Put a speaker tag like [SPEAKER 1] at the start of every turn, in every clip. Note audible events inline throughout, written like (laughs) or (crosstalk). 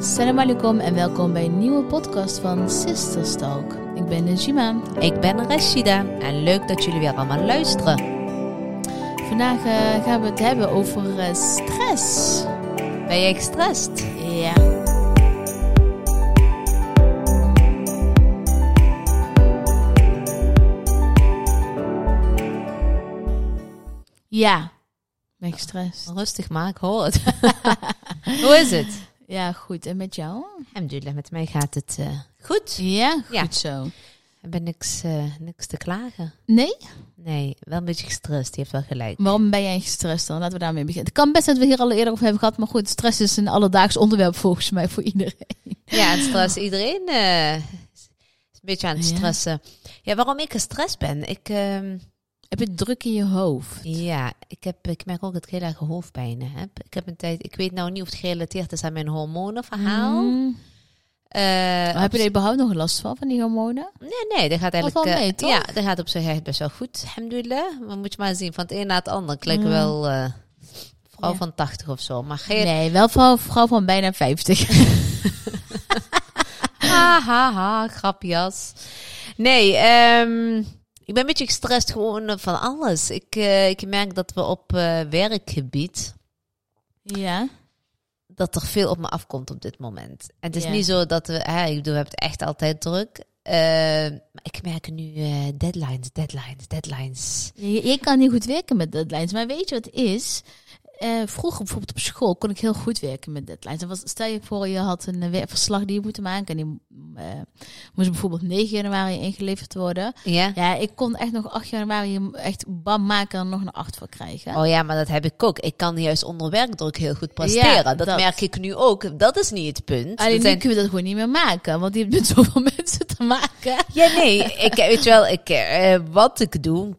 [SPEAKER 1] Salam alaikum en welkom bij een nieuwe podcast van Sisters Talk. Ik ben Najima.
[SPEAKER 2] Ik ben Rashida en leuk dat jullie weer allemaal luisteren.
[SPEAKER 1] Vandaag eh, gaan we het hebben over eh, stress.
[SPEAKER 2] Ben jij gestrest?
[SPEAKER 1] Ja. Ja. Ben ik gestrest?
[SPEAKER 2] Rustig maar, ik hoor het. (laughs) Hoe is het?
[SPEAKER 1] Ja, goed. En met jou?
[SPEAKER 2] Alhamdulillah, met mij gaat het eh, goed.
[SPEAKER 1] Ja, goed
[SPEAKER 2] Ja.
[SPEAKER 1] zo.
[SPEAKER 2] Ik ben niks, eh, niks te klagen.
[SPEAKER 1] Nee?
[SPEAKER 2] Nee, wel een beetje gestrest, die heeft wel gelijk.
[SPEAKER 1] Waarom ben jij gestrest dan? Laten we daarmee beginnen. Het kan best dat we hier al eerder over hebben gehad, maar goed, stress is een alledaags onderwerp volgens mij voor iedereen.
[SPEAKER 2] Ja, en stress. Iedereen eh, is een beetje aan het
[SPEAKER 1] Ja.
[SPEAKER 2] stressen. Ja, waarom ik gestrest ben? Ik, ehm,
[SPEAKER 1] Heb je druk in je hoofd?
[SPEAKER 2] ja, ik, heb, ik merk ook dat ik heel erg hoofdpijnen heb. Ik heb een tijd, ik weet nou niet of het gerelateerd is aan mijn hormonenverhaal.
[SPEAKER 1] Mm.
[SPEAKER 2] Eh,
[SPEAKER 1] Maar heb je
[SPEAKER 2] op-
[SPEAKER 1] er überhaupt nog last van, van die hormonen?
[SPEAKER 2] Nee, nee, dat gaat eigenlijk...
[SPEAKER 1] valt mee,
[SPEAKER 2] eh,
[SPEAKER 1] toch?
[SPEAKER 2] Ja, dat gaat op zich eigenlijk best wel goed, alhamdulillah. Maar moet je maar zien, van het een naar het ander. Ik lijk
[SPEAKER 1] Mm.
[SPEAKER 2] wel eh, vrouw
[SPEAKER 1] Ja.
[SPEAKER 2] van 80 of zo. Maar geen...
[SPEAKER 1] Nee, wel vrouw, vrouw van bijna 50.
[SPEAKER 2] Ha, ha, ha, grapjas. Nee, ehm, ik ben een beetje gestrest gewoon eh, van alles. Ik, eh, ik merk dat we op eh, werkgebied...
[SPEAKER 1] ja.
[SPEAKER 2] dat er veel op me afkomt op dit moment. En het is
[SPEAKER 1] Ja.
[SPEAKER 2] niet zo dat we... hè, ik bedoel, we hebben het echt altijd druk. Eh, maar ik merk nu eh, deadlines, deadlines, deadlines.
[SPEAKER 1] Je, je kan niet goed werken met deadlines. Maar weet je wat het is? Eh, vroeger bijvoorbeeld op school kon ik heel goed werken met deadlines. En was, stel je voor, je had een eh, werkverslag die je moet maken. En die eh, moest bijvoorbeeld 9 januari ingeleverd worden.
[SPEAKER 2] Ja?
[SPEAKER 1] Ja, ik kon echt nog 8 januari echt bam maken en er nog een 8 van krijgen.
[SPEAKER 2] Oh ja, maar dat heb ik ook. Ik kan juist onder werkdruk heel goed presteren.
[SPEAKER 1] Ja,
[SPEAKER 2] dat,
[SPEAKER 1] dat.
[SPEAKER 2] merk ik nu ook. Dat is niet het punt.
[SPEAKER 1] Alleen nu
[SPEAKER 2] Dat zijn- (laughs)
[SPEAKER 1] kunnen we dat gewoon niet meer maken. Want je hebt met (laughs) zoveel mensen te maken.
[SPEAKER 2] Ja, nee. Ik, weet je wel, ik, eh, wat ik doe,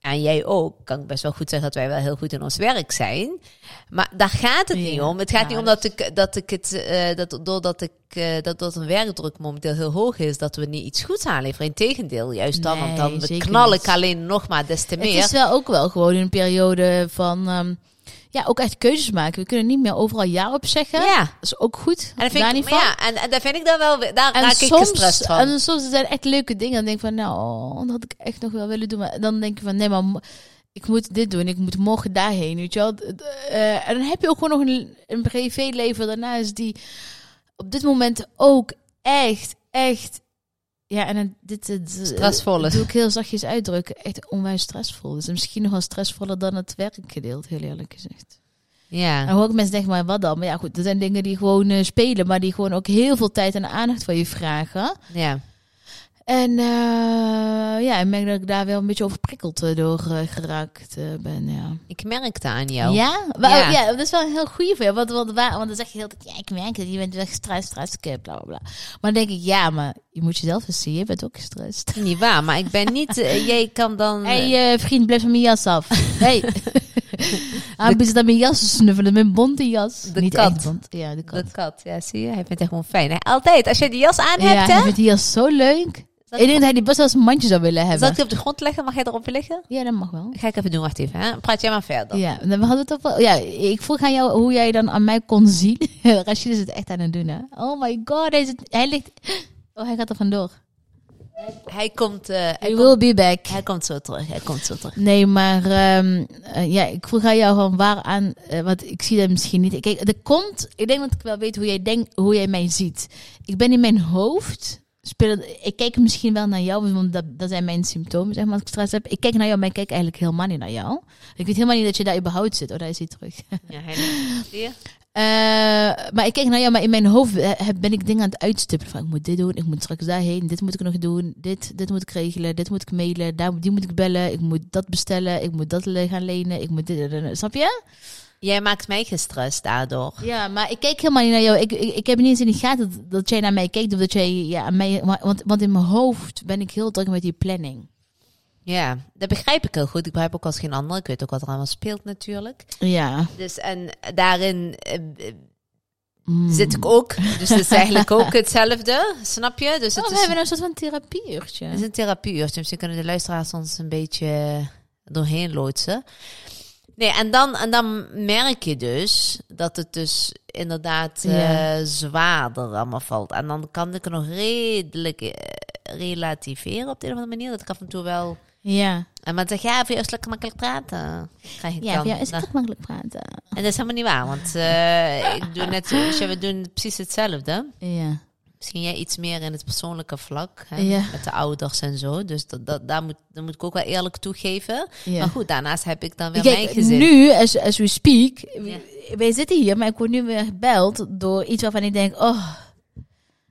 [SPEAKER 2] en jij ook, kan ik best wel goed zeggen dat wij wel heel goed in ons werk zijn. Maar daar gaat het
[SPEAKER 1] Ja,
[SPEAKER 2] niet om. Het gaat niet
[SPEAKER 1] nou,
[SPEAKER 2] om dat ik, dat ik het, eh, dat, doordat ik, eh, dat, dat een werkdruk momenteel heel hoog is, dat we niet iets goeds aanleveren. Integendeel, juist dan, want
[SPEAKER 1] Nee,
[SPEAKER 2] dan
[SPEAKER 1] zeker
[SPEAKER 2] knal
[SPEAKER 1] niet.
[SPEAKER 2] ik alleen nog maar des te meer.
[SPEAKER 1] Het is wel ook wel gewoon een periode van... ehm, ja, ook echt keuzes maken. We kunnen niet meer overal ja op zeggen.
[SPEAKER 2] ja.
[SPEAKER 1] Dat is ook goed.
[SPEAKER 2] En dat vind,
[SPEAKER 1] Daar
[SPEAKER 2] ik,
[SPEAKER 1] niet van.
[SPEAKER 2] ja, en, en daar vind ik dan wel, weer- daar
[SPEAKER 1] En
[SPEAKER 2] raak ik
[SPEAKER 1] soms,
[SPEAKER 2] gestrest van.
[SPEAKER 1] en soms zijn echt leuke dingen. Dan denk ik van, nou, dat had ik echt nog wel willen doen. Maar dan denk je van, nee, maar mo- ik moet dit doen. Ik moet morgen daarheen, weet je wel. D- d- eh, en dan heb je ook gewoon nog een, een privéleven daarnaast die op dit moment ook echt, echt... Ja, en het- dit, dit, dit-
[SPEAKER 2] Stressvol is.
[SPEAKER 1] doe ik heel zachtjes uitdrukken. Echt onwijs stressvol. Dus misschien nog wel stressvoller dan het werkgedeelte, heel eerlijk gezegd. En
[SPEAKER 2] Ja.
[SPEAKER 1] hoor ik mensen denken, maar wat dan? Maar ja, goed, er zijn dingen die gewoon eh, spelen, maar die gewoon ook heel veel tijd en aandacht van je vragen.
[SPEAKER 2] ja.
[SPEAKER 1] En eh, ja, ik merk dat ik daar wel een beetje overprikkeld eh, door eh, geraakt eh, ben, ja.
[SPEAKER 2] Ik merk dat aan jou.
[SPEAKER 1] Ja? Maar,
[SPEAKER 2] Ja.
[SPEAKER 1] ja. dat is wel een heel goeie voor jou. Want, want, waar- want dan zeg je heel de tijd, ja, ik merk het, je bent wel gestrest, stress, bla, bla, bla. Maar dan denk ik, ja, maar je moet jezelf eens zien, je bent ook gestrest.
[SPEAKER 2] Niet waar, maar ik ben niet... eh, jij kan dan... eh,
[SPEAKER 1] Hé, hey, eh, vriend, blijf van mijn jas
[SPEAKER 2] (laughs)
[SPEAKER 1] af. Ah, Hé. Hey. Hij bezit aan mijn jas te snuffelen, mijn bonte jas.
[SPEAKER 2] De
[SPEAKER 1] Niet
[SPEAKER 2] kat.
[SPEAKER 1] echt bont. Ja, de kat.
[SPEAKER 2] de kat, ja, zie je? Hij vindt het gewoon fijn. Hè? Altijd, als jij die jas aan
[SPEAKER 1] ja,
[SPEAKER 2] hebt,
[SPEAKER 1] hij
[SPEAKER 2] hè?
[SPEAKER 1] vindt die jas zo leuk.
[SPEAKER 2] Zal
[SPEAKER 1] ik denk
[SPEAKER 2] ik,
[SPEAKER 1] dat hij die best wel als een mandje zou willen
[SPEAKER 2] zal
[SPEAKER 1] hebben.
[SPEAKER 2] ik die op de grond leggen? Mag jij erop liggen?
[SPEAKER 1] Ja, dat mag wel.
[SPEAKER 2] Ga ik even doen, wacht even. Hè? Praat jij maar verder.
[SPEAKER 1] Ja, en we hadden het ook wel. Ja, ik vroeg aan jou hoe jij dan aan mij kon zien. (laughs) Rashid is het echt aan het doen, hè? Oh my god, hij, is het, hij ligt. Oh, hij gaat er vandoor.
[SPEAKER 2] Hij, komt, eh, hij,
[SPEAKER 1] He
[SPEAKER 2] komt,
[SPEAKER 1] will be back.
[SPEAKER 2] hij komt zo terug, hij komt zo
[SPEAKER 1] (laughs)
[SPEAKER 2] terug.
[SPEAKER 1] Nee, maar ehm, eh, ja, ik vroeg aan jou van waaraan, eh want ik zie dat misschien niet. Kijk, dat komt, ik denk dat ik wel weet hoe jij, denkt, hoe jij mij ziet. Ik ben in mijn hoofd, spelen, ik kijk misschien wel naar jou, want dat, dat zijn mijn symptomen, zeg maar, als ik stress heb. Ik kijk naar jou, maar ik kijk eigenlijk helemaal niet naar jou. Ik weet helemaal niet dat je daar überhaupt zit. Oh, daar is hij terug.
[SPEAKER 2] Ja, hij zie je?
[SPEAKER 1] Eh, maar ik kijk naar jou, maar in mijn hoofd eh, heb- ben ik dingen aan het uitstippelen. Van, ik moet dit doen, ik moet straks daarheen, dit moet ik nog doen, dit, dit moet ik regelen, dit moet ik mailen, daar, die moet ik bellen, ik moet dat bestellen, ik moet dat le- gaan lenen, ik moet dit, dit- dit- snap je?
[SPEAKER 2] Jij maakt mij gestrest daardoor.
[SPEAKER 1] Ja, maar ik kijk helemaal niet naar jou. Ik, ik, ik heb niet eens in de gaten dat, dat jij naar mij kijkt of dat jij ja, aan mij... wa- Want, want in mijn hoofd ben ik heel druk met die planning.
[SPEAKER 2] Ja, dat begrijp ik heel goed. Ik begrijp ook als geen ander. Ik weet ook wat er allemaal speelt natuurlijk.
[SPEAKER 1] Ja.
[SPEAKER 2] Dus en daarin eh,
[SPEAKER 1] Mm.
[SPEAKER 2] zit ik ook. Dus het is eigenlijk ook hetzelfde, snap je? Dus
[SPEAKER 1] Oh,
[SPEAKER 2] het
[SPEAKER 1] we
[SPEAKER 2] is,
[SPEAKER 1] hebben een soort van therapieuurtje.
[SPEAKER 2] het is een therapieuurtje. Misschien kunnen de luisteraars ons een beetje doorheen loodsen. Nee, en dan, en dan merk je dus dat het dus inderdaad eh,
[SPEAKER 1] Ja.
[SPEAKER 2] zwaarder allemaal valt. En dan kan ik het nog redelijk eh, relativeren op de een of andere manier. Dat ik af en toe wel...
[SPEAKER 1] Ja,
[SPEAKER 2] En maar zeg, ja, voor jou is het lekker makkelijk praten. Krijg ik
[SPEAKER 1] ja
[SPEAKER 2] dan.
[SPEAKER 1] voor jou is
[SPEAKER 2] Nou,
[SPEAKER 1] het ook makkelijk praten.
[SPEAKER 2] En dat is helemaal niet waar, want eh, ik doe net zoals jij, we doen precies hetzelfde.
[SPEAKER 1] Ja.
[SPEAKER 2] Misschien jij iets meer in het persoonlijke vlak, hè,
[SPEAKER 1] Ja.
[SPEAKER 2] met de ouders en zo. Dus dat, dat, daar moet, dat moet ik ook wel eerlijk toegeven.
[SPEAKER 1] Ja.
[SPEAKER 2] Maar goed, daarnaast heb ik dan weer mijn
[SPEAKER 1] Kijk,
[SPEAKER 2] gezin.
[SPEAKER 1] nu, as, as we speak,
[SPEAKER 2] Ja.
[SPEAKER 1] w- wij zitten hier, maar ik word nu weer gebeld door iets waarvan ik denk, oh,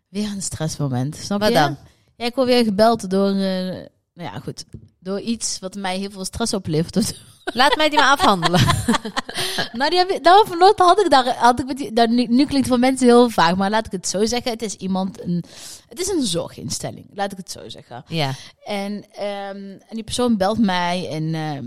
[SPEAKER 1] weer een stressmoment. Snap
[SPEAKER 2] Wat
[SPEAKER 1] je?
[SPEAKER 2] dan?
[SPEAKER 1] Ja, ik word weer gebeld door, eh, nou ja, goed, door iets wat mij heel veel stress oplevert.
[SPEAKER 2] (laughs) Laat mij die maar afhandelen.
[SPEAKER 1] (laughs) nou, die heb ik, nou, vanochtend had ik daar, had ik met die, nou, nu, nu klinkt het voor mensen heel vaag, maar laat ik het zo zeggen, het is iemand, een, het is een zorginstelling, laat ik het zo zeggen.
[SPEAKER 2] ja.
[SPEAKER 1] En, ehm, en die persoon belt mij en, ehm,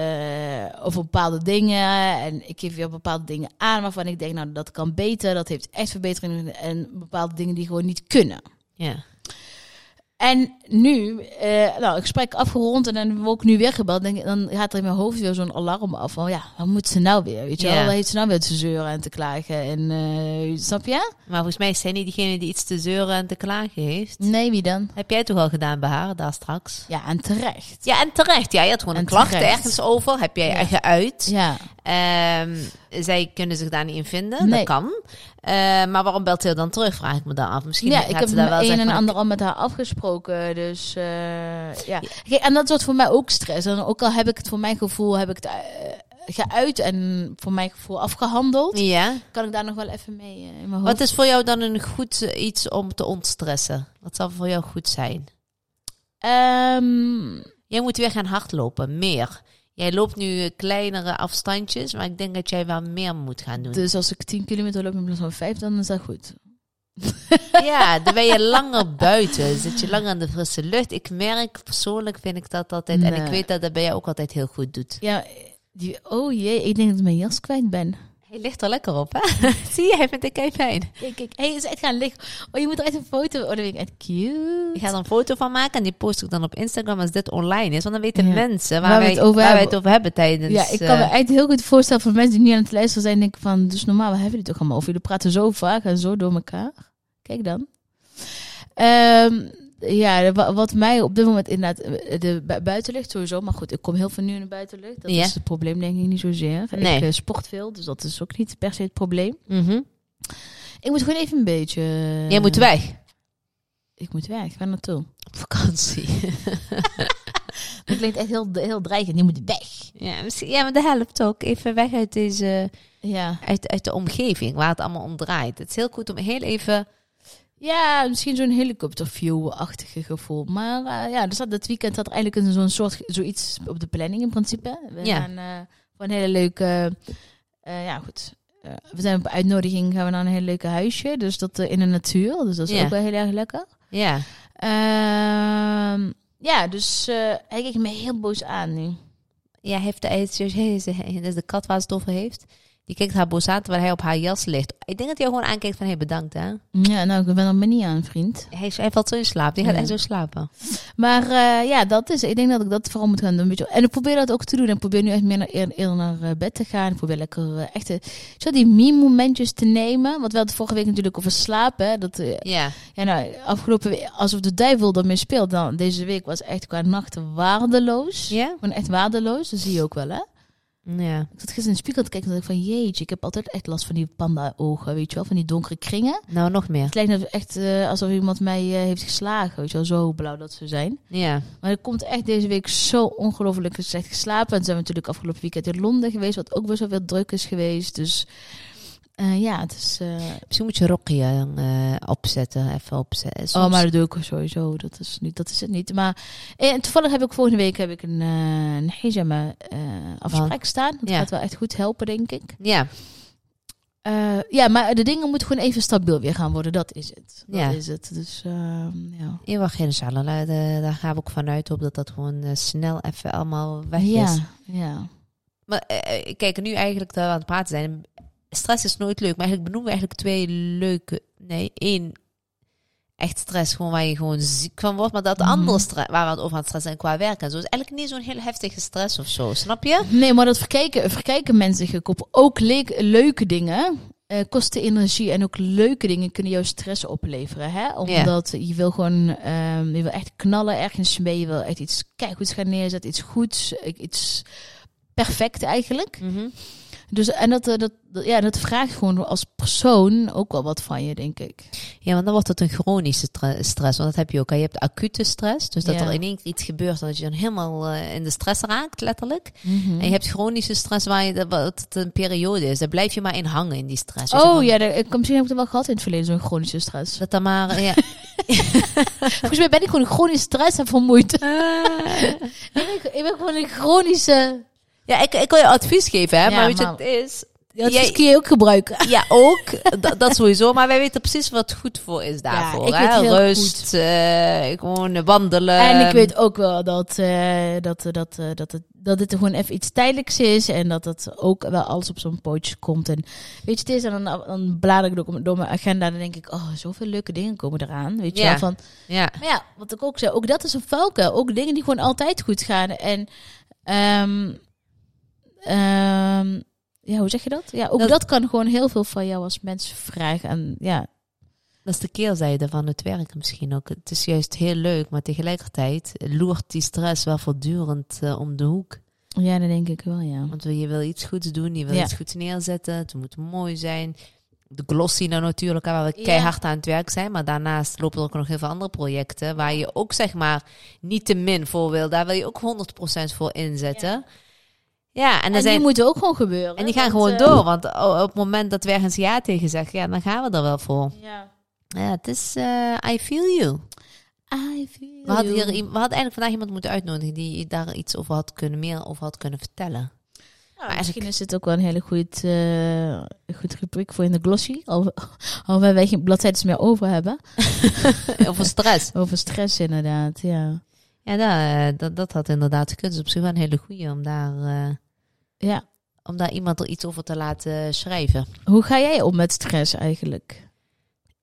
[SPEAKER 1] eh, over bepaalde dingen. En ik geef weer bepaalde dingen aan waarvan ik denk, nou dat kan beter. Dat heeft echt verbetering. nodig. En bepaalde dingen die gewoon niet kunnen.
[SPEAKER 2] ja.
[SPEAKER 1] En nu, eh, nou, ik gesprek afgerond en dan word ik nu weer gebeld. Denk, ik, dan gaat er in mijn hoofd weer zo'n alarm af. Van ja, wat moet ze nou weer? Weet je
[SPEAKER 2] Ja.
[SPEAKER 1] wel, wat heeft ze nou weer te zeuren en te klagen? En eh, snap je?
[SPEAKER 2] Maar volgens mij is zij niet diegene die iets te zeuren en te klagen heeft.
[SPEAKER 1] Nee, wie dan?
[SPEAKER 2] Heb jij toch al gedaan bij haar, daar straks?
[SPEAKER 1] Ja, en terecht.
[SPEAKER 2] Ja, en terecht. Ja, je had gewoon
[SPEAKER 1] En
[SPEAKER 2] een klacht
[SPEAKER 1] terecht.
[SPEAKER 2] ergens over. Heb jij
[SPEAKER 1] Ja.
[SPEAKER 2] geuit.
[SPEAKER 1] Ja,
[SPEAKER 2] Ehm, zij kunnen zich daar niet in vinden.
[SPEAKER 1] Nee.
[SPEAKER 2] Dat kan. Eh, maar waarom belt hij dan terug? Vraag ik me dan af. Misschien
[SPEAKER 1] ja,
[SPEAKER 2] gaat
[SPEAKER 1] ik heb
[SPEAKER 2] ze daar wel
[SPEAKER 1] het een
[SPEAKER 2] zeggen
[SPEAKER 1] en
[SPEAKER 2] van,
[SPEAKER 1] ander al met haar afgesproken. Dus eh, ja. Kijk, en dat wordt voor mij ook stress. En ook al heb ik het voor mijn gevoel heb ik het, eh, geuit en voor mijn gevoel afgehandeld,
[SPEAKER 2] Ja.
[SPEAKER 1] kan ik daar nog wel even mee eh, in mijn hoofd.
[SPEAKER 2] Wat is voor jou dan een goed eh, iets om te ontstressen? Wat zal voor jou goed zijn?
[SPEAKER 1] Ehm,
[SPEAKER 2] Jij moet weer gaan hardlopen, meer. Jij loopt nu eh, kleinere afstandjes, maar ik denk dat jij wel meer moet gaan doen.
[SPEAKER 1] dus als ik 10 kilometer loop in plaats van 5, dan is dat goed.
[SPEAKER 2] (laughs) Ja, dan ben je langer buiten, zit je langer in de frisse lucht. Ik merk, persoonlijk vind ik dat altijd. En ik
[SPEAKER 1] Nee.
[SPEAKER 2] weet dat dat bij jou ook altijd heel goed doet.
[SPEAKER 1] Ja, die, oh jee, ik denk dat ik mijn jas kwijt ben.
[SPEAKER 2] Hij ligt er lekker op, hè? (laughs) Zie je, hij vindt het kei fijn.
[SPEAKER 1] Kijk, kijk, hij is echt gaan liggen. Oh, je moet er echt een foto... Oh, dat vind ik echt cute.
[SPEAKER 2] Ik ga er een foto van maken en die post ik dan op Instagram als dit online is. Want dan weten
[SPEAKER 1] Ja.
[SPEAKER 2] mensen waar,
[SPEAKER 1] Waar we
[SPEAKER 2] wij,
[SPEAKER 1] het over
[SPEAKER 2] waar wij
[SPEAKER 1] hebben.
[SPEAKER 2] het over hebben tijdens...
[SPEAKER 1] ja, ik kan me
[SPEAKER 2] eh,
[SPEAKER 1] echt heel goed voorstellen voor mensen die nu aan het luisteren zijn. Denk ik van, dus normaal, we hebben jullie toch allemaal over? Jullie praten zo vaak en zo door elkaar. Kijk dan. Ehm, ja, de- wa- wat mij op dit moment inderdaad, eh, de bu- buitenlucht sowieso. Maar goed, ik kom heel veel nu in de buitenlucht. Dat
[SPEAKER 2] Ja.
[SPEAKER 1] is het probleem denk ik niet zozeer.
[SPEAKER 2] Nee.
[SPEAKER 1] Ik eh, sport veel, dus dat is ook niet per se het probleem.
[SPEAKER 2] mhm.
[SPEAKER 1] Ik moet gewoon even een beetje... eh,
[SPEAKER 2] Jij moet weg.
[SPEAKER 1] Ik moet weg, waar naartoe?
[SPEAKER 2] Op vakantie.
[SPEAKER 1] Dat klinkt echt heel, heel dreigend. Je moet weg.
[SPEAKER 2] ja, misschien- ja, maar dat helpt ook. Even weg uit deze...
[SPEAKER 1] Ja.
[SPEAKER 2] uit, uit de omgeving waar het allemaal om draait. Het is heel goed om heel even.
[SPEAKER 1] Ja, misschien zo'n helikopterview-achtige gevoel. Maar eh, ja, dus dat, dat weekend had er eigenlijk een, zo'n soort zoiets op de planning in principe. We
[SPEAKER 2] Ja.
[SPEAKER 1] gaan eh, voor een hele leuke. eh, ja, goed. Eh, we zijn op uitnodiging gaan we naar een heel leuke huisje. Dus dat eh, in de natuur. Dus dat is
[SPEAKER 2] Ja.
[SPEAKER 1] ook wel heel erg lekker.
[SPEAKER 2] Ja.
[SPEAKER 1] Ehm, ja, dus eh, hij keek me heel boos aan nu.
[SPEAKER 2] Ja, heeft de, hij is- hij is- hij is de kat waar ze het over heeft. Die kijkt haar boos aan terwijl hij op haar jas ligt. Ik denk dat hij haar gewoon aankijkt van hey, bedankt hè.
[SPEAKER 1] Ja, nou, ik ben er maar niet aan, vriend.
[SPEAKER 2] Hij, is- hij valt zo in slaap. Die gaat
[SPEAKER 1] Ja.
[SPEAKER 2] echt zo slapen.
[SPEAKER 1] Maar eh, ja, dat is. Ik denk dat ik dat vooral moet gaan doen. Weet je. wel. En ik probeer dat ook te doen. Ik probeer nu echt meer naar, eer- eerder naar eh, bed te gaan. Ik probeer lekker eh, echt eh, weet je wel, die me-momentjes te nemen. Want we hadden vorige week natuurlijk over slapen. hè. Dat, eh,
[SPEAKER 2] Ja.
[SPEAKER 1] ja, nou, afgelopen week, alsof de duivel ermee speelt. Nou, deze week was echt qua nachten waardeloos.
[SPEAKER 2] Ja?
[SPEAKER 1] Gewoon echt waardeloos. Dat zie je ook wel, hè?
[SPEAKER 2] Ja.
[SPEAKER 1] Ik zat gisteren in de spiegel te kijken en dacht ik van... Jeetje, ik heb altijd echt last van die panda-ogen, weet je wel? Van die donkere kringen.
[SPEAKER 2] Nou, nog meer.
[SPEAKER 1] Het lijkt net echt eh, alsof iemand mij eh, heeft geslagen, weet je wel? Zo blauw dat ze zijn.
[SPEAKER 2] Ja.
[SPEAKER 1] Maar er komt echt deze week zo ongelooflijk slecht geslapen. En zijn we natuurlijk afgelopen weekend in Londen geweest, wat ook best wel veel druk is geweest. Dus eh, ja, het is. eh,
[SPEAKER 2] Misschien moet je Rocky eh, opzetten. Even opzetten. Soms-
[SPEAKER 1] oh, maar dat doe ik sowieso. Dat is, niet, dat is het niet. Maar eh, toevallig heb ik volgende week heb ik een, eh een hijama, eh, afspraak staan. Dat
[SPEAKER 2] Ja.
[SPEAKER 1] gaat wel echt goed helpen, denk ik.
[SPEAKER 2] Ja.
[SPEAKER 1] Eh, ja, maar de dingen moeten gewoon even stabiel weer gaan worden. Dat is het. Dat
[SPEAKER 2] Ja.
[SPEAKER 1] is het. Dus ehm, ja.
[SPEAKER 2] Eeuwig inshallah. eh, Daar gaan we ook vanuit op dat dat gewoon eh, snel even allemaal weg is.
[SPEAKER 1] Ja, ja.
[SPEAKER 2] Maar eh, eh, kijk, nu eigenlijk dat we aan het praten zijn. Stress is nooit leuk, maar eigenlijk benoemen we eigenlijk twee leuke. Nee, één echt stress, gewoon waar je gewoon ziek van wordt. Maar dat
[SPEAKER 1] Mhm.
[SPEAKER 2] andere stress, waar we het over aan het stress zijn qua werk en zo, is eigenlijk niet zo'n heel heftige stress of zo, snap je?
[SPEAKER 1] Nee, maar dat verkijken, verkijken mensen zich ook op. Ook le- leuke dingen eh, kosten energie. En ook leuke dingen kunnen jouw stress opleveren. Hè? Omdat je wil gewoon, ehm, je wil echt knallen ergens mee. Je wil echt iets goed gaan neerzetten. Iets goeds, eh, iets perfect eigenlijk. Dus, en dat, eh, dat, dat- ja, dat vraagt gewoon als persoon ook wel wat van je, denk ik.
[SPEAKER 2] Ja, want dan wordt het een chronische tra- stress, want dat heb je ook. hè. Je hebt acute stress, dus dat
[SPEAKER 1] Ja.
[SPEAKER 2] er in één keer iets gebeurt en dat je dan helemaal eh, in de stress raakt, letterlijk.
[SPEAKER 1] Mhm.
[SPEAKER 2] En je hebt chronische stress waar je, dat- wat het een periode is. Daar blijf je maar in hangen in die stress. Dus
[SPEAKER 1] Oh
[SPEAKER 2] je-
[SPEAKER 1] ja, daar- ik, misschien heb ik het wel gehad in het verleden, zo'n chronische stress.
[SPEAKER 2] Dat dan maar, ja.
[SPEAKER 1] Volgens mij ben ik gewoon chronisch stress en vermoeid. Ah. (laughs) ik, ben, ik ben gewoon een chronische...
[SPEAKER 2] ja, ik, ik kan je advies geven, hè,
[SPEAKER 1] Ja,
[SPEAKER 2] maar weet je
[SPEAKER 1] maar-
[SPEAKER 2] wat het is?
[SPEAKER 1] Ja, dat
[SPEAKER 2] Jij-
[SPEAKER 1] kun je ook gebruiken.
[SPEAKER 2] (laughs) Ja, ook. dat, dat sowieso. Maar wij weten precies wat goed voor is daarvoor.
[SPEAKER 1] ik
[SPEAKER 2] hè?
[SPEAKER 1] weet heel
[SPEAKER 2] Rust, eh, gewoon wandelen.
[SPEAKER 1] En ik weet ook wel dat, eh, dat, eh, dat, eh, dat, het, dat dit gewoon even iets tijdelijks is. En dat dat ook wel alles op zo'n pootje komt. En weet je, het is. En dan, dan blader ik door, door mijn agenda. En dan denk ik, oh, zoveel leuke dingen komen eraan. Weet je
[SPEAKER 2] Ja.
[SPEAKER 1] wel, van...
[SPEAKER 2] Ja.
[SPEAKER 1] Maar ja, wat ik ook zei, ook dat is een valkuil. Ook dingen die gewoon altijd goed gaan. En ehm, ehm, ja, hoe zeg je dat? Ja, ook
[SPEAKER 2] Dat-
[SPEAKER 1] dat, kan gewoon heel veel van jou als mens vragen. En ja,
[SPEAKER 2] Dat is de keerzijde van het werken misschien ook. Het is juist heel leuk, maar tegelijkertijd loert die stress wel voortdurend eh, om de hoek.
[SPEAKER 1] ja, dat denk ik wel, ja.
[SPEAKER 2] Want wil- je wil iets goeds doen, je wil
[SPEAKER 1] Ja.
[SPEAKER 2] iets goeds neerzetten, het moet mooi zijn. De glossy nou natuurlijk, hè, waar we
[SPEAKER 1] Ja.
[SPEAKER 2] keihard aan het werk zijn. Maar daarnaast lopen er ook nog heel veel andere projecten waar je ook zeg maar niet te min voor wil. Daar wil je ook 100% voor inzetten. Ja, en,
[SPEAKER 1] En,
[SPEAKER 2] er zijn,
[SPEAKER 1] die moeten ook gewoon gebeuren.
[SPEAKER 2] en die gaan
[SPEAKER 1] want,
[SPEAKER 2] gewoon
[SPEAKER 1] eh,
[SPEAKER 2] door. Want o- op het moment dat we ergens ja tegen zeggen, ja, dan gaan we er wel voor.
[SPEAKER 1] Ja.
[SPEAKER 2] Ja, het is eh, I feel you.
[SPEAKER 1] I feel
[SPEAKER 2] We hadden, hier,
[SPEAKER 1] you.
[SPEAKER 2] iem- we hadden eigenlijk vandaag iemand moeten uitnodigen die daar iets over had kunnen, meer over had kunnen vertellen.
[SPEAKER 1] (laughs) Ja,
[SPEAKER 2] eigenlijk-
[SPEAKER 1] misschien is dit ook wel een hele goed, eh, goed rubriek voor in de glossy. Al, alhoewel wij geen bladzijden meer over hebben.
[SPEAKER 2] over stress.
[SPEAKER 1] Over stress inderdaad, ja.
[SPEAKER 2] Ja, dat, eh, dat, dat had inderdaad gekund. Dus op zich wel een hele goeie om daar, eh,
[SPEAKER 1] Ja.
[SPEAKER 2] om daar iemand er iets over te laten schrijven.
[SPEAKER 1] Hoe ga jij om met stress eigenlijk?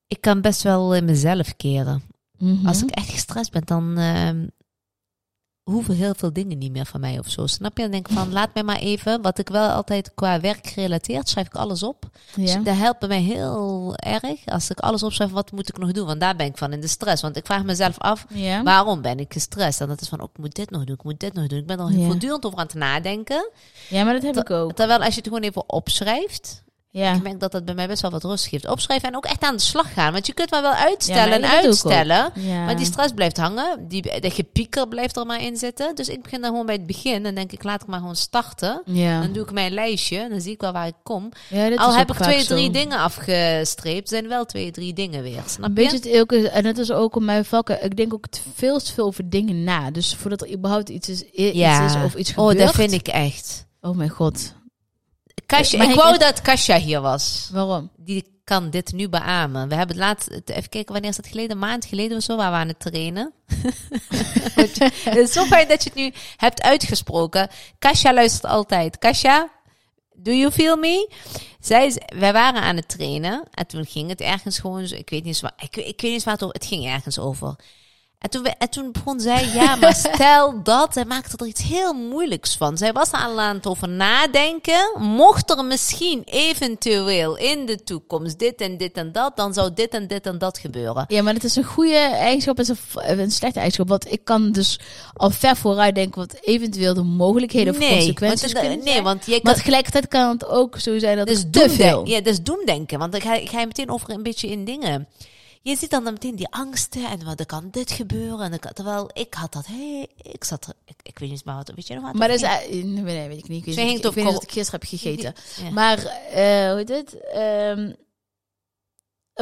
[SPEAKER 2] Ik kan best wel in mezelf keren.
[SPEAKER 1] Mhm.
[SPEAKER 2] Als ik echt gestrest ben, dan ehm, hoeven heel veel dingen niet meer van mij of zo. Snap je? Dan denk ik van, laat mij maar even. Wat ik wel altijd qua werk gerelateerd, schrijf ik alles op. Dus
[SPEAKER 1] ja.
[SPEAKER 2] dat helpt mij heel erg. Als ik alles opschrijf, wat moet ik nog doen? Want daar ben ik van in de stress. Want ik vraag mezelf af,
[SPEAKER 1] Ja.
[SPEAKER 2] waarom ben ik gestrest? En dat is van, oh, ik moet dit nog doen, ik moet dit nog doen. Ik ben er
[SPEAKER 1] Ja.
[SPEAKER 2] voortdurend over aan het nadenken.
[SPEAKER 1] ja, maar dat heb ik ook.
[SPEAKER 2] Terwijl als je het gewoon even opschrijft,
[SPEAKER 1] Ja.
[SPEAKER 2] ik merk dat dat bij mij best wel wat rust geeft. Opschrijven en ook echt aan de slag gaan. Want je kunt maar wel uitstellen
[SPEAKER 1] Ja,
[SPEAKER 2] en
[SPEAKER 1] maar dat doe ik ook.
[SPEAKER 2] uitstellen.
[SPEAKER 1] ja.
[SPEAKER 2] Maar die stress blijft hangen. Die, de gepieker blijft er maar in zitten. Dus ik begin dan gewoon bij het begin. En denk ik, laat ik maar gewoon starten.
[SPEAKER 1] ja.
[SPEAKER 2] Dan doe ik mijn lijstje. en Dan zie ik wel waar ik kom.
[SPEAKER 1] Ja, dat
[SPEAKER 2] Al
[SPEAKER 1] is
[SPEAKER 2] heb
[SPEAKER 1] ook
[SPEAKER 2] ik
[SPEAKER 1] vaak
[SPEAKER 2] twee,
[SPEAKER 1] zo.
[SPEAKER 2] drie dingen afgestreept. Zijn wel twee, drie dingen weer. Snap
[SPEAKER 1] Een
[SPEAKER 2] je?
[SPEAKER 1] beetje het elke, en dat is ook om mijn vakken. Ik denk ook te veel te veel over dingen na. Dus voordat er überhaupt iets is, i-
[SPEAKER 2] Ja.
[SPEAKER 1] iets is of iets
[SPEAKER 2] oh,
[SPEAKER 1] gebeurt.
[SPEAKER 2] dat vind ik echt.
[SPEAKER 1] Oh mijn god.
[SPEAKER 2] Kasia,
[SPEAKER 1] Maar
[SPEAKER 2] ik
[SPEAKER 1] ik-
[SPEAKER 2] wou dat Kasia hier was.
[SPEAKER 1] Waarom?
[SPEAKER 2] die kan dit nu beamen. We hebben het laatst, het- even kijken, wanneer is dat geleden? Een maand geleden of zo, waar we aan het trainen. Want je- (laughs) het is zo fijn dat je het nu hebt uitgesproken. Kasia luistert altijd. Kasia, do you feel me? Zij, is- wij waren aan het trainen en toen ging het ergens gewoon, zo- ik weet niet eens waar, ik, ik weet niet eens waar het over, het ging ergens over. En toen, we- en toen begon zij,
[SPEAKER 1] (laughs)
[SPEAKER 2] ja, maar stel dat. Zij maakte er iets heel moeilijks van. Zij was er al aan het over nadenken. Mocht er misschien eventueel in de toekomst dit en dit en dat, dan zou dit en dit en dat gebeuren.
[SPEAKER 1] Ja, maar dat is een goede eigenschap en een v- een slechte eigenschap. Want ik kan dus al ver vooruit denken wat eventueel de mogelijkheden of consequenties
[SPEAKER 2] want,
[SPEAKER 1] kunnen zijn.
[SPEAKER 2] nee, want je
[SPEAKER 1] Maar
[SPEAKER 2] kan,
[SPEAKER 1] tegelijkertijd kan het ook zo zijn dat
[SPEAKER 2] dus
[SPEAKER 1] ik te veel.
[SPEAKER 2] Ja, dus doemdenken. Want dan ga, je- ga je meteen over een beetje in dingen. Je ziet dan meteen die angsten en wat er kan dit gebeuren. En dan kan, terwijl ik had dat, hey, ik zat er, ik, ik weet niet meer wat, weet je nog wat?
[SPEAKER 1] Maar dat is... eh, Nee, nee, weet ik niet. Ik weet,
[SPEAKER 2] Zij
[SPEAKER 1] niet,
[SPEAKER 2] hangt
[SPEAKER 1] ik weet
[SPEAKER 2] op
[SPEAKER 1] niet
[SPEAKER 2] kol-
[SPEAKER 1] wat ik gisteren heb gegeten.
[SPEAKER 2] Ja.
[SPEAKER 1] Maar, eh, hoe heet het? Ehm,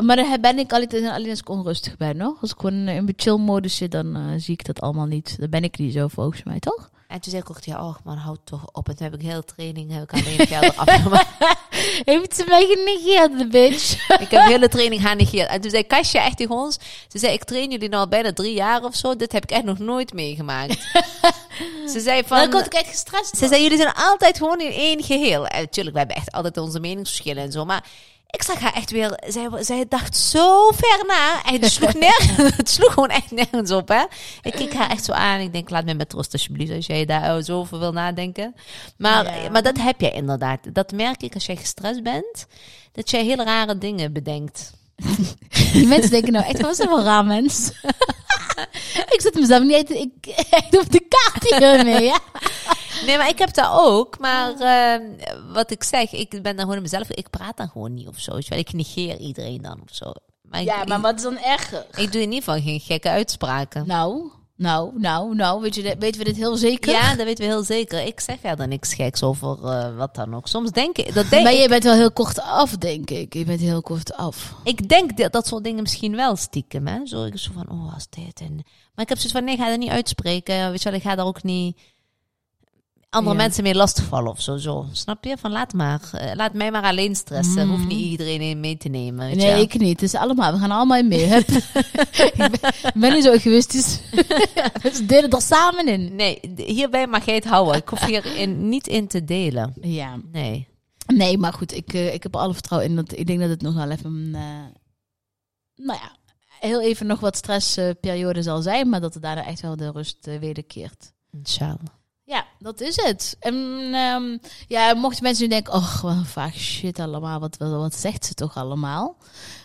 [SPEAKER 1] maar dan ben ik altijd, alleen als ik onrustig ben, hoor. Als ik gewoon in mijn chill-modus zit, dan eh, zie ik dat allemaal niet. Dan ben ik niet zo, volgens mij, (laughs) toch?
[SPEAKER 2] En toen zei ik ook, ja, och man, houd toch op. En toen heb ik heel training, heb ik alleen geld eraf (laughs) gemaakt.
[SPEAKER 1] (laughs) Heeft ze mij genegeerd, de bitch?
[SPEAKER 2] ik heb hele training genegeerd. En toen zei Kasia echt tegen ons, ze zei, ik train jullie nou al bijna drie jaar of zo. Dit heb ik echt nog nooit
[SPEAKER 1] (laughs)
[SPEAKER 2] meegemaakt. ze zei van...
[SPEAKER 1] dan word ik echt gestrest.
[SPEAKER 2] Eh, Ze zei, jullie zijn altijd gewoon in één geheel. En natuurlijk, we hebben echt altijd onze meningsverschillen en zo. Maar Ik zag haar echt weer. Zij, zij dacht zo ver na. En het
[SPEAKER 1] (laughs)
[SPEAKER 2] sloeg, nergens, (laughs) het sloeg gewoon echt nergens op. Hè? Ik keek haar echt zo aan. Ik denk, laat me met rust alsjeblieft. Als jij daar eh, zo over wil nadenken. Maar,
[SPEAKER 1] Ja.
[SPEAKER 2] maar dat heb jij inderdaad. Dat merk ik als jij gestrest bent. Dat jij hele rare dingen bedenkt.
[SPEAKER 1] Die (laughs) mensen denken nou echt, wat is dat voor raar mens? (laughs) ik zet mezelf niet uit, ik, (laughs) ik doe de kaart hiermee, ja.
[SPEAKER 2] Nee, maar ik heb dat ook. Maar eh, wat ik zeg, ik ben dan gewoon mezelf. Ik praat dan gewoon niet of zo. weet je wel. Ik negeer iedereen dan of zo. Maar
[SPEAKER 1] Ja,
[SPEAKER 2] ik,
[SPEAKER 1] maar wat is dan erger?
[SPEAKER 2] ik, ik doe in ieder geval geen gekke uitspraken.
[SPEAKER 1] Nou, nou, nou, nou, weet je, dit- weten we dit heel zeker?
[SPEAKER 2] Ja, dat weten we heel zeker. Ik zeg verder niks geks over eh, wat dan ook. Soms denk ik, dat denk,
[SPEAKER 1] Maar
[SPEAKER 2] ik-
[SPEAKER 1] je bent wel heel kort af, denk ik. Je bent heel kort af.
[SPEAKER 2] ik denk dat, dat soort dingen misschien wel stiekem. Hè? Zo, ik zo van, oh, was dit? En, maar ik heb zoiets van, nee, ik ga dat niet uitspreken. Weet je wel, ik ga daar ook niet andere
[SPEAKER 1] Ja.
[SPEAKER 2] mensen mee lastigvallen of zo, zo. Snap je? Van, laat maar. Eh, laat mij maar alleen stressen. Hoef niet iedereen in mee te nemen. Weet
[SPEAKER 1] Mm. Nee,
[SPEAKER 2] je?
[SPEAKER 1] ik niet. Het is allemaal, we gaan allemaal mee.
[SPEAKER 2] (laughs)
[SPEAKER 1] Hup. ik ben, ik ben niet zo egoïstisch. (laughs) we delen er samen in.
[SPEAKER 2] nee, d- hierbij mag jij het houden. Ik hoef
[SPEAKER 1] (laughs)
[SPEAKER 2] hier in, niet in te delen.
[SPEAKER 1] Ja.
[SPEAKER 2] Nee.
[SPEAKER 1] Nee, maar goed, ik, eh, ik heb er alle vertrouwen in. Dat, ik denk dat het nog wel even, eh, nou ja, heel even nog wat stressperiode zal zijn. Maar dat er daarna echt wel de rust eh, wederkeert.
[SPEAKER 2] Inshallah.
[SPEAKER 1] Ja, dat is het. En ehm, ja, mochten mensen nu denken, oh, wat een vaag shit allemaal. Wat, wat, wat zegt ze toch allemaal?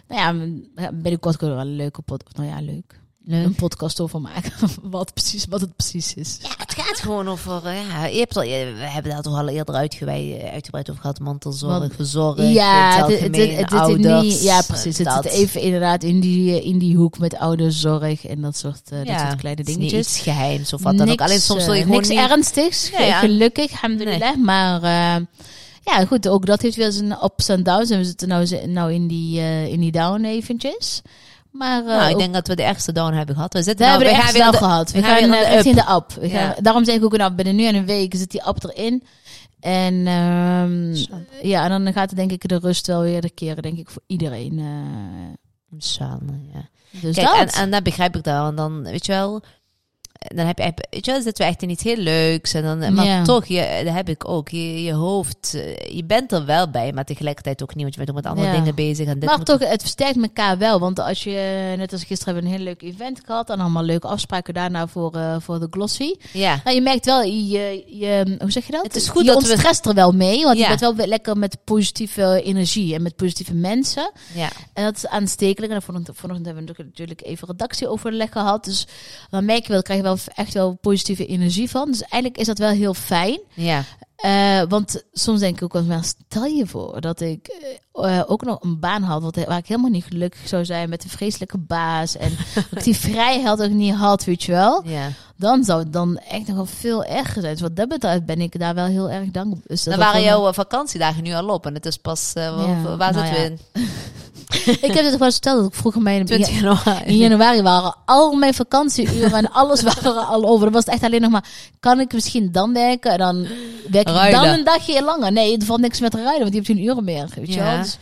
[SPEAKER 1] Nou ja, m- ja, binnenkort kunnen we wel een leuke podcast, nou ja, leuk. Een podcast over maken, (laughs) wat, precies, wat het precies is.
[SPEAKER 2] Ja, het gaat gewoon over. eh, Ja, je hebt al, je- we hebben daar toch al eerder uitgeweid, eh, uitgebreid over gehad. Mantelzorg,
[SPEAKER 1] Want-
[SPEAKER 2] verzorging. eh,
[SPEAKER 1] Ja,
[SPEAKER 2] het,
[SPEAKER 1] het- het-
[SPEAKER 2] algemeen,
[SPEAKER 1] het- het- het-
[SPEAKER 2] ouders,
[SPEAKER 1] niet- ja, precies. Het
[SPEAKER 2] eh,
[SPEAKER 1] zit
[SPEAKER 2] dat.
[SPEAKER 1] even inderdaad in die, eh, in die hoek met ouderzorg en dat soort, eh, dat
[SPEAKER 2] Ja,
[SPEAKER 1] soort kleine
[SPEAKER 2] het is
[SPEAKER 1] dingetjes.
[SPEAKER 2] Niet iets geheims of wat dan ook. Alleen soms wil je
[SPEAKER 1] eh,
[SPEAKER 2] gewoon
[SPEAKER 1] niks
[SPEAKER 2] niet...
[SPEAKER 1] ernstigs, ge-
[SPEAKER 2] Ja, ja.
[SPEAKER 1] gelukkig, alhamdulillah. Maar eh, ja, goed, ook dat heeft weer zijn ups en downs. En we zitten nou, ze- nou in, die, eh, in die down eventjes. Maar eh,
[SPEAKER 2] Nou, ik
[SPEAKER 1] ook-
[SPEAKER 2] denk dat we de ergste down hebben gehad. We zitten
[SPEAKER 1] daar
[SPEAKER 2] nou,
[SPEAKER 1] hebben we
[SPEAKER 2] we
[SPEAKER 1] echt
[SPEAKER 2] gaan
[SPEAKER 1] wel
[SPEAKER 2] weer de-
[SPEAKER 1] gehad. We,
[SPEAKER 2] we gaan
[SPEAKER 1] gaan,
[SPEAKER 2] weer aan
[SPEAKER 1] eh,
[SPEAKER 2] de
[SPEAKER 1] echt in
[SPEAKER 2] up.
[SPEAKER 1] de app. We
[SPEAKER 2] Ja.
[SPEAKER 1] gaan, daarom zeg ik ook, nou, binnen nu en een week zit die app erin. En ehm,
[SPEAKER 2] Zo.
[SPEAKER 1] ja, en dan gaat het denk ik de rust wel weer de keren, denk ik, voor iedereen. eh.
[SPEAKER 2] Inshallah, ja.
[SPEAKER 1] dus
[SPEAKER 2] Kijk,
[SPEAKER 1] dat.
[SPEAKER 2] en, en dat begrijp ik dan. En dan, weet je wel... eh, Dan heb je, heb- weet je wel, zitten we echt in iets heel leuks. En dan, maar
[SPEAKER 1] Ja.
[SPEAKER 2] toch, je, eh, dat heb ik ook. Je, je hoofd, eh, je bent er wel bij, maar tegelijkertijd ook niet. Want je bent ook met andere
[SPEAKER 1] Ja.
[SPEAKER 2] dingen bezig. En dit
[SPEAKER 1] maar
[SPEAKER 2] moet
[SPEAKER 1] toch, het versterkt elkaar wel. Want als je, net als gisteren, hebben we een heel leuk event gehad. En allemaal leuke afspraken daarna voor, eh, voor de glossy.
[SPEAKER 2] Ja.
[SPEAKER 1] Nou, je merkt wel, je, je, hoe zeg je dat?
[SPEAKER 2] Het is goed
[SPEAKER 1] je
[SPEAKER 2] dat we-
[SPEAKER 1] ontstrest er wel mee. Want
[SPEAKER 2] Ja.
[SPEAKER 1] je bent wel weer lekker met positieve energie en met positieve mensen.
[SPEAKER 2] ja.
[SPEAKER 1] En dat is aanstekelijk. En vanochtend, vanochtend hebben we natuurlijk- natuurlijk even redactieoverleg gehad. Dus dan merk je wel, krijg je wel echt wel positieve energie van. Dus eigenlijk is dat wel heel fijn.
[SPEAKER 2] Ja.
[SPEAKER 1] Eh, want soms denk ik ook wel, maar stel je voor dat ik eh, eh, ook nog een baan had wat, waar ik helemaal niet gelukkig zou zijn met een vreselijke baas.
[SPEAKER 2] (laughs)
[SPEAKER 1] En dat ik die vrijheid ook niet had, weet je wel.
[SPEAKER 2] ja.
[SPEAKER 1] Dan zou het dan echt nog wel veel erger zijn. Dus wat dat betreft ben ik daar wel heel erg dankbaar. Dus dat
[SPEAKER 2] Dan
[SPEAKER 1] was
[SPEAKER 2] waren
[SPEAKER 1] wel-
[SPEAKER 2] jouw eh, vakantiedagen nu al op en het is pas, eh, wa-
[SPEAKER 1] Ja,
[SPEAKER 2] waar
[SPEAKER 1] nou
[SPEAKER 2] zitten
[SPEAKER 1] ja.
[SPEAKER 2] we in?
[SPEAKER 1] Ik heb het gewoon verteld dat ik vroeger mijn...
[SPEAKER 2] 20
[SPEAKER 1] In
[SPEAKER 2] januari.
[SPEAKER 1] januari waren al mijn vakantieuren en alles (laughs) waren er al over. Dan was het echt alleen nog maar, kan ik misschien dan werken? En dan werk ik
[SPEAKER 2] Ruilen.
[SPEAKER 1] dan een dagje langer. Nee, er valt niks met ruilen, want die hebt geen uren meer. Weet
[SPEAKER 2] Ja.
[SPEAKER 1] je wel? Dus,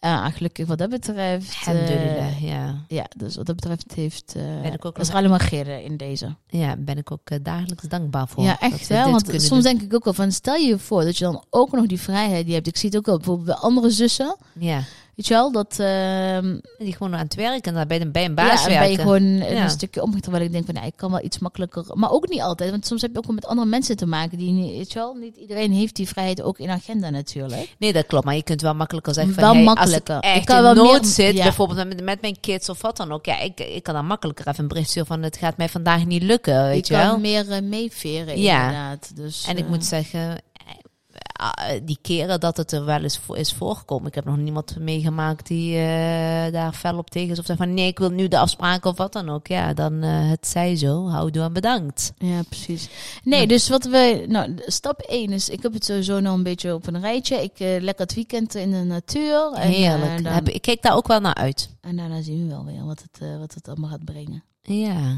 [SPEAKER 1] eh, gelukkig wat dat betreft. eh,
[SPEAKER 2] Alhamdulillah, ja.
[SPEAKER 1] ja, dus wat dat betreft heeft, eh,
[SPEAKER 2] Ben ik ook
[SPEAKER 1] is er
[SPEAKER 2] nog-
[SPEAKER 1] alleen maar geren in deze.
[SPEAKER 2] Ja, ben ik ook eh, dagelijks dankbaar voor.
[SPEAKER 1] ja,
[SPEAKER 2] dat
[SPEAKER 1] echt
[SPEAKER 2] we
[SPEAKER 1] hè.
[SPEAKER 2] dit
[SPEAKER 1] Want
[SPEAKER 2] kunnen
[SPEAKER 1] soms
[SPEAKER 2] doen.
[SPEAKER 1] denk ik ook wel van, stel je voor dat je dan ook nog die vrijheid die hebt. Ik zie het ook wel bijvoorbeeld bij andere zussen.
[SPEAKER 2] Ja,
[SPEAKER 1] Weet je wel, dat... ehm,
[SPEAKER 2] die gewoon aan het werken en dan bij een, bij een baas
[SPEAKER 1] ja, en
[SPEAKER 2] werken.
[SPEAKER 1] ben je gewoon eh,
[SPEAKER 2] Ja.
[SPEAKER 1] een stukje omgegaan. Terwijl ik denk van, nou, ik kan wel iets makkelijker. Maar ook niet altijd. Want soms heb je ook wel met andere mensen te maken. Die, niet- weet je wel, niet iedereen heeft die vrijheid ook in agenda natuurlijk.
[SPEAKER 2] Nee, dat klopt. Maar je kunt wel makkelijker zeggen van...
[SPEAKER 1] Wel
[SPEAKER 2] hey,
[SPEAKER 1] makkelijker.
[SPEAKER 2] Als ik
[SPEAKER 1] Ik
[SPEAKER 2] echt
[SPEAKER 1] kan
[SPEAKER 2] in
[SPEAKER 1] wel
[SPEAKER 2] nood
[SPEAKER 1] meer-
[SPEAKER 2] zit,
[SPEAKER 1] ja.
[SPEAKER 2] bijvoorbeeld met, met mijn kids of wat dan ook. Ja, ik, ik kan dan makkelijker even een bericht sturen van... Het gaat mij vandaag niet lukken, weet je,
[SPEAKER 1] kan
[SPEAKER 2] wel.
[SPEAKER 1] meer eh, meeveren
[SPEAKER 2] Ja.
[SPEAKER 1] inderdaad. Dus,
[SPEAKER 2] En ik
[SPEAKER 1] eh,
[SPEAKER 2] moet zeggen... eh, eh, Die keren dat het er wel eens voor is voorgekomen. Ik heb nog niemand meegemaakt die eh, daar fel op tegen is. Of zegt van nee, ik wil nu de afspraak of wat dan ook. Ja, dan eh, het zij zo. Houdoe en bedankt.
[SPEAKER 1] Ja, precies. Nee, dus wat we... Nou, stap 1 is... Ik heb het sowieso nog een beetje op een rijtje. Ik eh, lekker het weekend in de natuur. En, eh,
[SPEAKER 2] Heerlijk.
[SPEAKER 1] dan-
[SPEAKER 2] Heb- ik keek daar ook wel naar uit.
[SPEAKER 1] en daarna zien we wel weer wat het, eh, wat het allemaal gaat brengen.
[SPEAKER 2] Ja.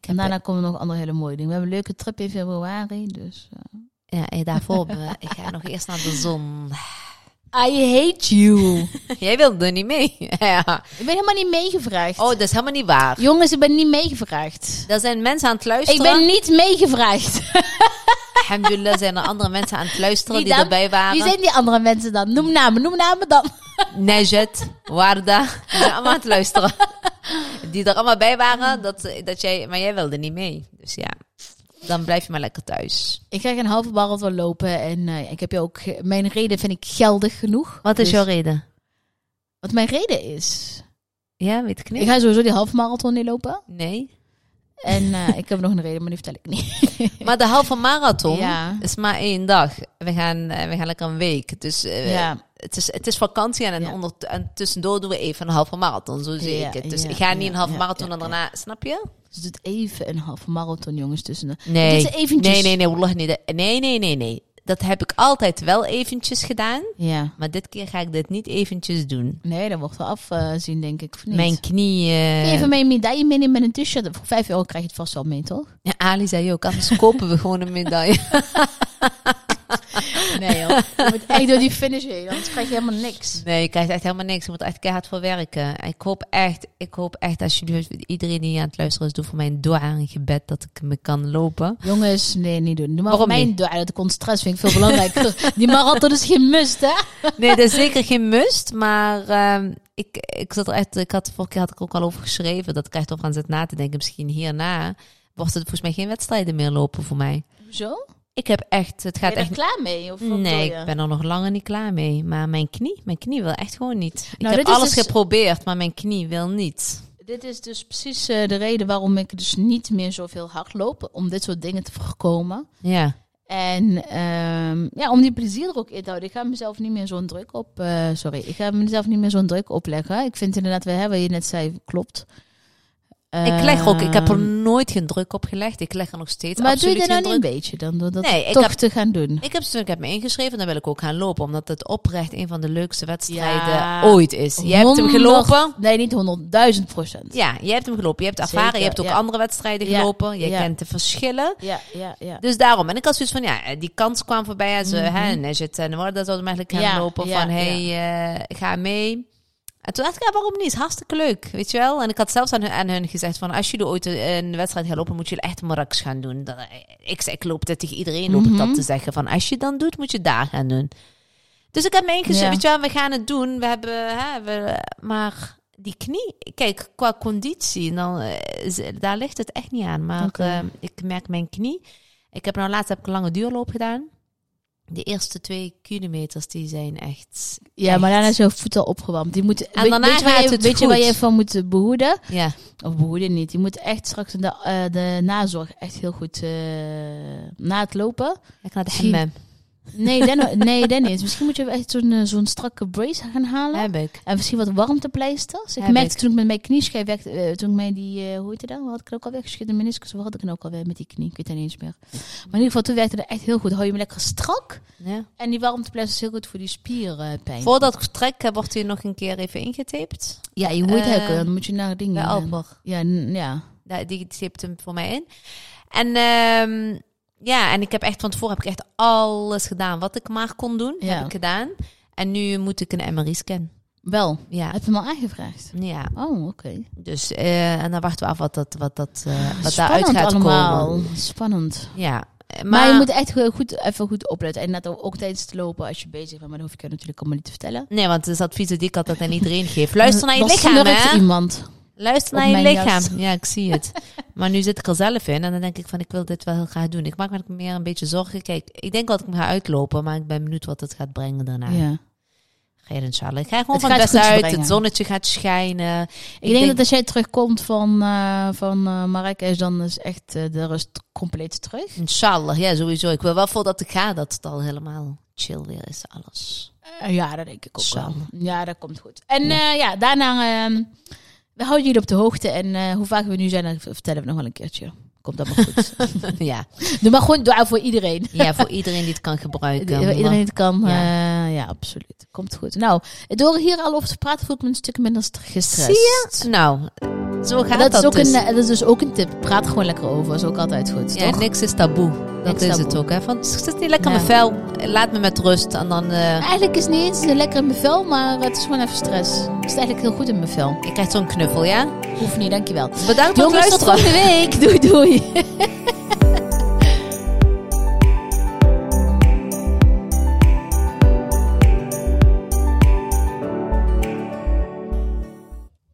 [SPEAKER 1] En
[SPEAKER 2] heb,
[SPEAKER 1] daarna komen nog andere hele mooie dingen. We hebben een leuke trip in februari, dus... eh.
[SPEAKER 2] ja, en daarvoor eh, ik ga nog eerst naar de
[SPEAKER 1] (laughs)
[SPEAKER 2] zon.
[SPEAKER 1] I hate you.
[SPEAKER 2] Jij wilde er niet mee. (laughs) ja.
[SPEAKER 1] Ik ben helemaal niet meegevraagd.
[SPEAKER 2] Oh, dat is helemaal niet waar.
[SPEAKER 1] Jongens, ik ben niet meegevraagd.
[SPEAKER 2] Er zijn mensen aan het
[SPEAKER 1] Ik
[SPEAKER 2] luisteren.
[SPEAKER 1] ben niet meegevraagd.
[SPEAKER 2] Alhamdulillah zijn er andere mensen aan het luisteren
[SPEAKER 1] Die
[SPEAKER 2] die,
[SPEAKER 1] dan?
[SPEAKER 2] erbij waren.
[SPEAKER 1] Wie zijn die andere mensen dan? Noem namen, noem namen dan.
[SPEAKER 2] Najat, Warda, die zijn allemaal aan het luisteren.
[SPEAKER 1] (laughs)
[SPEAKER 2] Die er allemaal bij waren, dat, dat jij, maar jij wilde niet mee. Dus ja, dan blijf je maar lekker thuis.
[SPEAKER 1] Ik krijg een halve barrel van lopen en eh, ik heb je ook... ge- Mijn reden vind ik geldig genoeg. Dus-
[SPEAKER 2] reden?
[SPEAKER 1] Wat mijn reden is?
[SPEAKER 2] Ja, weet ik
[SPEAKER 1] Ik
[SPEAKER 2] niet.
[SPEAKER 1] ga sowieso die halve marathon niet lopen.
[SPEAKER 2] Nee.
[SPEAKER 1] En eh, ik heb nog een reden, maar die vertel ik niet.
[SPEAKER 2] Maar de halve marathon
[SPEAKER 1] Ja.
[SPEAKER 2] is maar één dag. We gaan, eh, we gaan lekker een week. Dus eh,
[SPEAKER 1] Ja.
[SPEAKER 2] het, is, het is vakantie en, en,
[SPEAKER 1] Ja.
[SPEAKER 2] onder, en tussendoor doen we even een halve marathon. Zo zie
[SPEAKER 1] Ja,
[SPEAKER 2] ik het. Dus
[SPEAKER 1] ja,
[SPEAKER 2] ik ga niet
[SPEAKER 1] ja,
[SPEAKER 2] een halve
[SPEAKER 1] ja,
[SPEAKER 2] marathon
[SPEAKER 1] ja,
[SPEAKER 2] en daarna, snap je?
[SPEAKER 1] Dus doet even een halve marathon, jongens, tussen de...
[SPEAKER 2] Nee.
[SPEAKER 1] Dit is eventjes.
[SPEAKER 2] Nee, nee, nee, wallah niet. Nee, nee, nee, nee. Dat heb ik altijd wel eventjes gedaan.
[SPEAKER 1] Ja.
[SPEAKER 2] Maar dit keer ga ik dit niet eventjes doen.
[SPEAKER 1] Nee, dat wordt wel afzien, denk ik. Of niet?
[SPEAKER 2] Mijn knie... eh,
[SPEAKER 1] Even mijn medaille meenemen met een t-shirt. Voor 5 euro krijg je het vast wel mee, toch?
[SPEAKER 2] ja, Ali zei
[SPEAKER 1] (laughs)
[SPEAKER 2] ook, anders kopen we gewoon een medaille. (laughs)
[SPEAKER 1] Nee, joh. Je moet echt door die finish heen, anders krijg je helemaal niks.
[SPEAKER 2] Nee, je krijgt echt helemaal niks. Je moet echt keihard voor werken. Ik hoop echt, ik hoop echt als jullie, iedereen die aan het luisteren is, doe voor mij een dua en een gebed dat ik me
[SPEAKER 1] (laughs)
[SPEAKER 2] kan lopen.
[SPEAKER 1] Jongens, nee, niet doen. Doe maar
[SPEAKER 2] Waarom
[SPEAKER 1] mijn
[SPEAKER 2] niet?
[SPEAKER 1] dua, dat komt stress, vind ik veel belangrijker. (laughs) die marathon is geen must, hè?
[SPEAKER 2] Nee, dat is zeker geen must, maar ehm, ik, ik zat er echt, ik had, vorige keer had ik er ook al over geschreven, dat ik er echt over aan zit na te denken. Misschien hierna wordt het volgens mij geen wedstrijden meer lopen voor mij.
[SPEAKER 1] Zo?
[SPEAKER 2] Ik heb echt, het
[SPEAKER 1] Ben
[SPEAKER 2] gaat
[SPEAKER 1] je er
[SPEAKER 2] echt...
[SPEAKER 1] klaar mee? Of wat
[SPEAKER 2] Nee,
[SPEAKER 1] bedoel je?
[SPEAKER 2] ik ben er nog langer niet klaar mee. Maar mijn knie, mijn knie wil echt gewoon niet. Ik
[SPEAKER 1] Nou,
[SPEAKER 2] heb
[SPEAKER 1] dit is
[SPEAKER 2] alles
[SPEAKER 1] dus-
[SPEAKER 2] geprobeerd, maar mijn knie wil niet.
[SPEAKER 1] Dit is dus precies eh, de reden waarom ik dus niet meer zoveel hard loop. Om dit soort dingen te voorkomen.
[SPEAKER 2] Ja.
[SPEAKER 1] En ehm, ja, om die plezier er ook in te houden. Ik ga mezelf niet meer zo'n druk op. eh, sorry, ik ga mezelf niet meer zo'n druk opleggen. Ik vind inderdaad, wel, hè, wat je net zei, klopt.
[SPEAKER 2] Ik leg ook, ik heb er
[SPEAKER 1] Ehm,
[SPEAKER 2] nooit geen druk op gelegd. Ik leg er nog steeds
[SPEAKER 1] Maar doe
[SPEAKER 2] absoluut
[SPEAKER 1] je dat
[SPEAKER 2] geen
[SPEAKER 1] nou niet een
[SPEAKER 2] druk
[SPEAKER 1] beetje dan? Door dat
[SPEAKER 2] Nee, ik
[SPEAKER 1] toch
[SPEAKER 2] heb-
[SPEAKER 1] te gaan doen.
[SPEAKER 2] Ik heb, ze- ik heb me ingeschreven en dan wil ik ook gaan lopen. Omdat het oprecht een van de leukste wedstrijden
[SPEAKER 1] Ja.
[SPEAKER 2] ooit is. Jij hebt hem
[SPEAKER 1] Honderd-
[SPEAKER 2] gelopen.
[SPEAKER 1] Nee, niet honderdduizend procent.
[SPEAKER 2] Ja, jij hebt hem gelopen. Je hebt ervaren.
[SPEAKER 1] Zeker,
[SPEAKER 2] je hebt ook
[SPEAKER 1] ja.
[SPEAKER 2] andere wedstrijden
[SPEAKER 1] Ja,
[SPEAKER 2] gelopen. Jij
[SPEAKER 1] ja.
[SPEAKER 2] kent de verschillen.
[SPEAKER 1] Ja, ja, ja. Mhm.
[SPEAKER 2] Dus daarom. En ik had zoiets van, ja, eh, die kans kwam voorbij. En ze, hè, Najat en Warda zouden hem eigenlijk gaan
[SPEAKER 1] Ja,
[SPEAKER 2] lopen.
[SPEAKER 1] ja,
[SPEAKER 2] van, hey, eh, ga mee. En toen dacht ik, ja, waarom niet? Is hartstikke leuk, weet je wel? En ik had zelfs aan hun, aan hun gezegd van, als jullie ooit een een wedstrijd gaan lopen, moet jullie echt Marrakesh gaan doen. Dan, eh, ik, zei, ik loop dit tegen iedereen, loop ik
[SPEAKER 1] Mhm.
[SPEAKER 2] dat te zeggen. Van, als je dan doet, moet je daar gaan doen. Dus ik heb me ingeschreven,
[SPEAKER 1] Ja.
[SPEAKER 2] weet je wel, we gaan het doen. We hebben, hè, we, maar die knie, kijk, qua conditie, dan, eh, is- daar ligt het echt niet aan. Maar
[SPEAKER 1] Oké.
[SPEAKER 2] eh, ik merk mijn knie. Ik heb nou laatst heb ik een lange duurloop gedaan. De eerste twee kilometers, die zijn echt...
[SPEAKER 1] ja, maar daarna is je voet al opgewarmd. Die moet, weet,
[SPEAKER 2] daarna
[SPEAKER 1] weet je waar
[SPEAKER 2] gaat
[SPEAKER 1] je-
[SPEAKER 2] het
[SPEAKER 1] weet je waar
[SPEAKER 2] goed.
[SPEAKER 1] je van moet behoeden?
[SPEAKER 2] Ja.
[SPEAKER 1] Of behoeden niet. Je moet echt straks de, eh, de nazorg echt heel goed eh, na het lopen.
[SPEAKER 2] Ik naar de
[SPEAKER 1] Misschien-
[SPEAKER 2] hammam.
[SPEAKER 1] Nee, dan, (laughs) nee, dan niet. Misschien moet je echt zo'n eh, zo'n strakke brace gaan halen.
[SPEAKER 2] Heb ik.
[SPEAKER 1] En misschien wat warmtepleisters. Ik
[SPEAKER 2] Heb
[SPEAKER 1] merkte
[SPEAKER 2] ik.
[SPEAKER 1] toen ik met mijn knieschijf werkte, eh, toen ik mij die, eh, hoe heet het dan? Had ik er ook alweer geschud, de meniscus, of had ik er ook alweer met die knie? Ik weet het niet eens meer. Maar in ieder geval, toen werkte dat echt heel goed. Hou je me lekker strak.
[SPEAKER 2] Ja.
[SPEAKER 1] En die warmtepleisters is heel goed voor die spierpijn.
[SPEAKER 2] Voordat ik vertrek, eh, wordt hij nog een keer even ingetaped.
[SPEAKER 1] ja, je hoort
[SPEAKER 2] Eh,
[SPEAKER 1] het dan moet je naar dingen.
[SPEAKER 2] Bij
[SPEAKER 1] gaan.
[SPEAKER 2] Alper.
[SPEAKER 1] Ja, n- ja.
[SPEAKER 2] Daar- Die tapt hem voor mij in. En ehm, ja, en ik heb echt van tevoren heb ik echt alles gedaan wat ik maar kon doen.
[SPEAKER 1] Ja.
[SPEAKER 2] Heb ik gedaan. En nu moet ik een MRI scan.
[SPEAKER 1] Wel.
[SPEAKER 2] Ja.
[SPEAKER 1] Heb je hem al aangevraagd?
[SPEAKER 2] Ja,
[SPEAKER 1] Oh, oké.
[SPEAKER 2] dus eh, en dan wachten we af wat dat wat dat eh, wat daaruit
[SPEAKER 1] Spannend
[SPEAKER 2] gaat
[SPEAKER 1] allemaal.
[SPEAKER 2] komen.
[SPEAKER 1] Spannend.
[SPEAKER 2] Ja, eh, maar,
[SPEAKER 1] Maar, je moet echt heel goed, even goed opletten. En net ook tijdens het lopen, als je bezig bent. Maar dat hoef ik je natuurlijk allemaal niet te vertellen.
[SPEAKER 2] nee, want het is adviezen die ik altijd aan iedereen geef. Luister naar je
[SPEAKER 1] Dan
[SPEAKER 2] lichaam,
[SPEAKER 1] snurkt
[SPEAKER 2] hè?
[SPEAKER 1] iemand.
[SPEAKER 2] Luister
[SPEAKER 1] Op
[SPEAKER 2] naar je
[SPEAKER 1] mijn
[SPEAKER 2] lichaam.
[SPEAKER 1] jas.
[SPEAKER 2] Ja, ik
[SPEAKER 1] (laughs)
[SPEAKER 2] zie het. maar nu zit ik er zelf in en dan denk ik van ik wil dit wel heel graag doen. Ik maak me meer een beetje zorgen. Kijk, ik denk dat ik me ga uitlopen, maar ik ben benieuwd wat het gaat brengen daarna.
[SPEAKER 1] ja.
[SPEAKER 2] Geen inshallah. Ik ga gewoon
[SPEAKER 1] Het
[SPEAKER 2] van het
[SPEAKER 1] gaat
[SPEAKER 2] beste
[SPEAKER 1] goed
[SPEAKER 2] uit.
[SPEAKER 1] brengen.
[SPEAKER 2] Het zonnetje gaat schijnen. Ik,
[SPEAKER 1] Ik, denk, dat als jij terugkomt van, eh van eh Marrakesh, dan is echt eh, de rust compleet terug.
[SPEAKER 2] inshallah, ja sowieso. Ik wil wel voordat ik ga dat het al helemaal chill weer is alles. (laughs)
[SPEAKER 1] Eh, ja, dat denk ik ook
[SPEAKER 2] Zo.
[SPEAKER 1] wel. Ja, dat komt goed. En ja, ja daarna, ehm, we houden jullie op de hoogte. En eh, hoe vaak we nu zijn, dat vertellen we nog wel een keertje. Komt allemaal (laughs) goed.
[SPEAKER 2] ja.
[SPEAKER 1] Doe maar gewoon dua voor iedereen.
[SPEAKER 2] ja, voor iedereen die het kan gebruiken.
[SPEAKER 1] Iedereen die het kan.
[SPEAKER 2] Ja.
[SPEAKER 1] Ja. ja, absoluut. Komt goed. Nou, door hier al over te praten voel ik me een stuk minder st- gestrest.
[SPEAKER 2] Zie je? Nou, zo gaat dat,
[SPEAKER 1] Dat is, ook
[SPEAKER 2] dus.
[SPEAKER 1] een, eh, dat is dus ook een tip. Praat gewoon lekker over. Is ook altijd goed,
[SPEAKER 2] Ja,
[SPEAKER 1] toch?
[SPEAKER 2] niks is taboe. Dat
[SPEAKER 1] Niks
[SPEAKER 2] is
[SPEAKER 1] taboe.
[SPEAKER 2] het ook. Hè? Van, het zit niet lekker
[SPEAKER 1] Ja.
[SPEAKER 2] in mijn vel. Laat me met rust. En dan eh
[SPEAKER 1] Eigenlijk is het niet eens lekker in mijn vel, maar het is gewoon even stress. Het is eigenlijk heel goed in mijn vel.
[SPEAKER 2] ik krijg zo'n knuffel, ja?
[SPEAKER 1] Hoeft niet, dankjewel.
[SPEAKER 2] Bedankt voor het
[SPEAKER 1] Jongens, tot
[SPEAKER 2] luisteren.
[SPEAKER 1] volgende week. Doei, doei.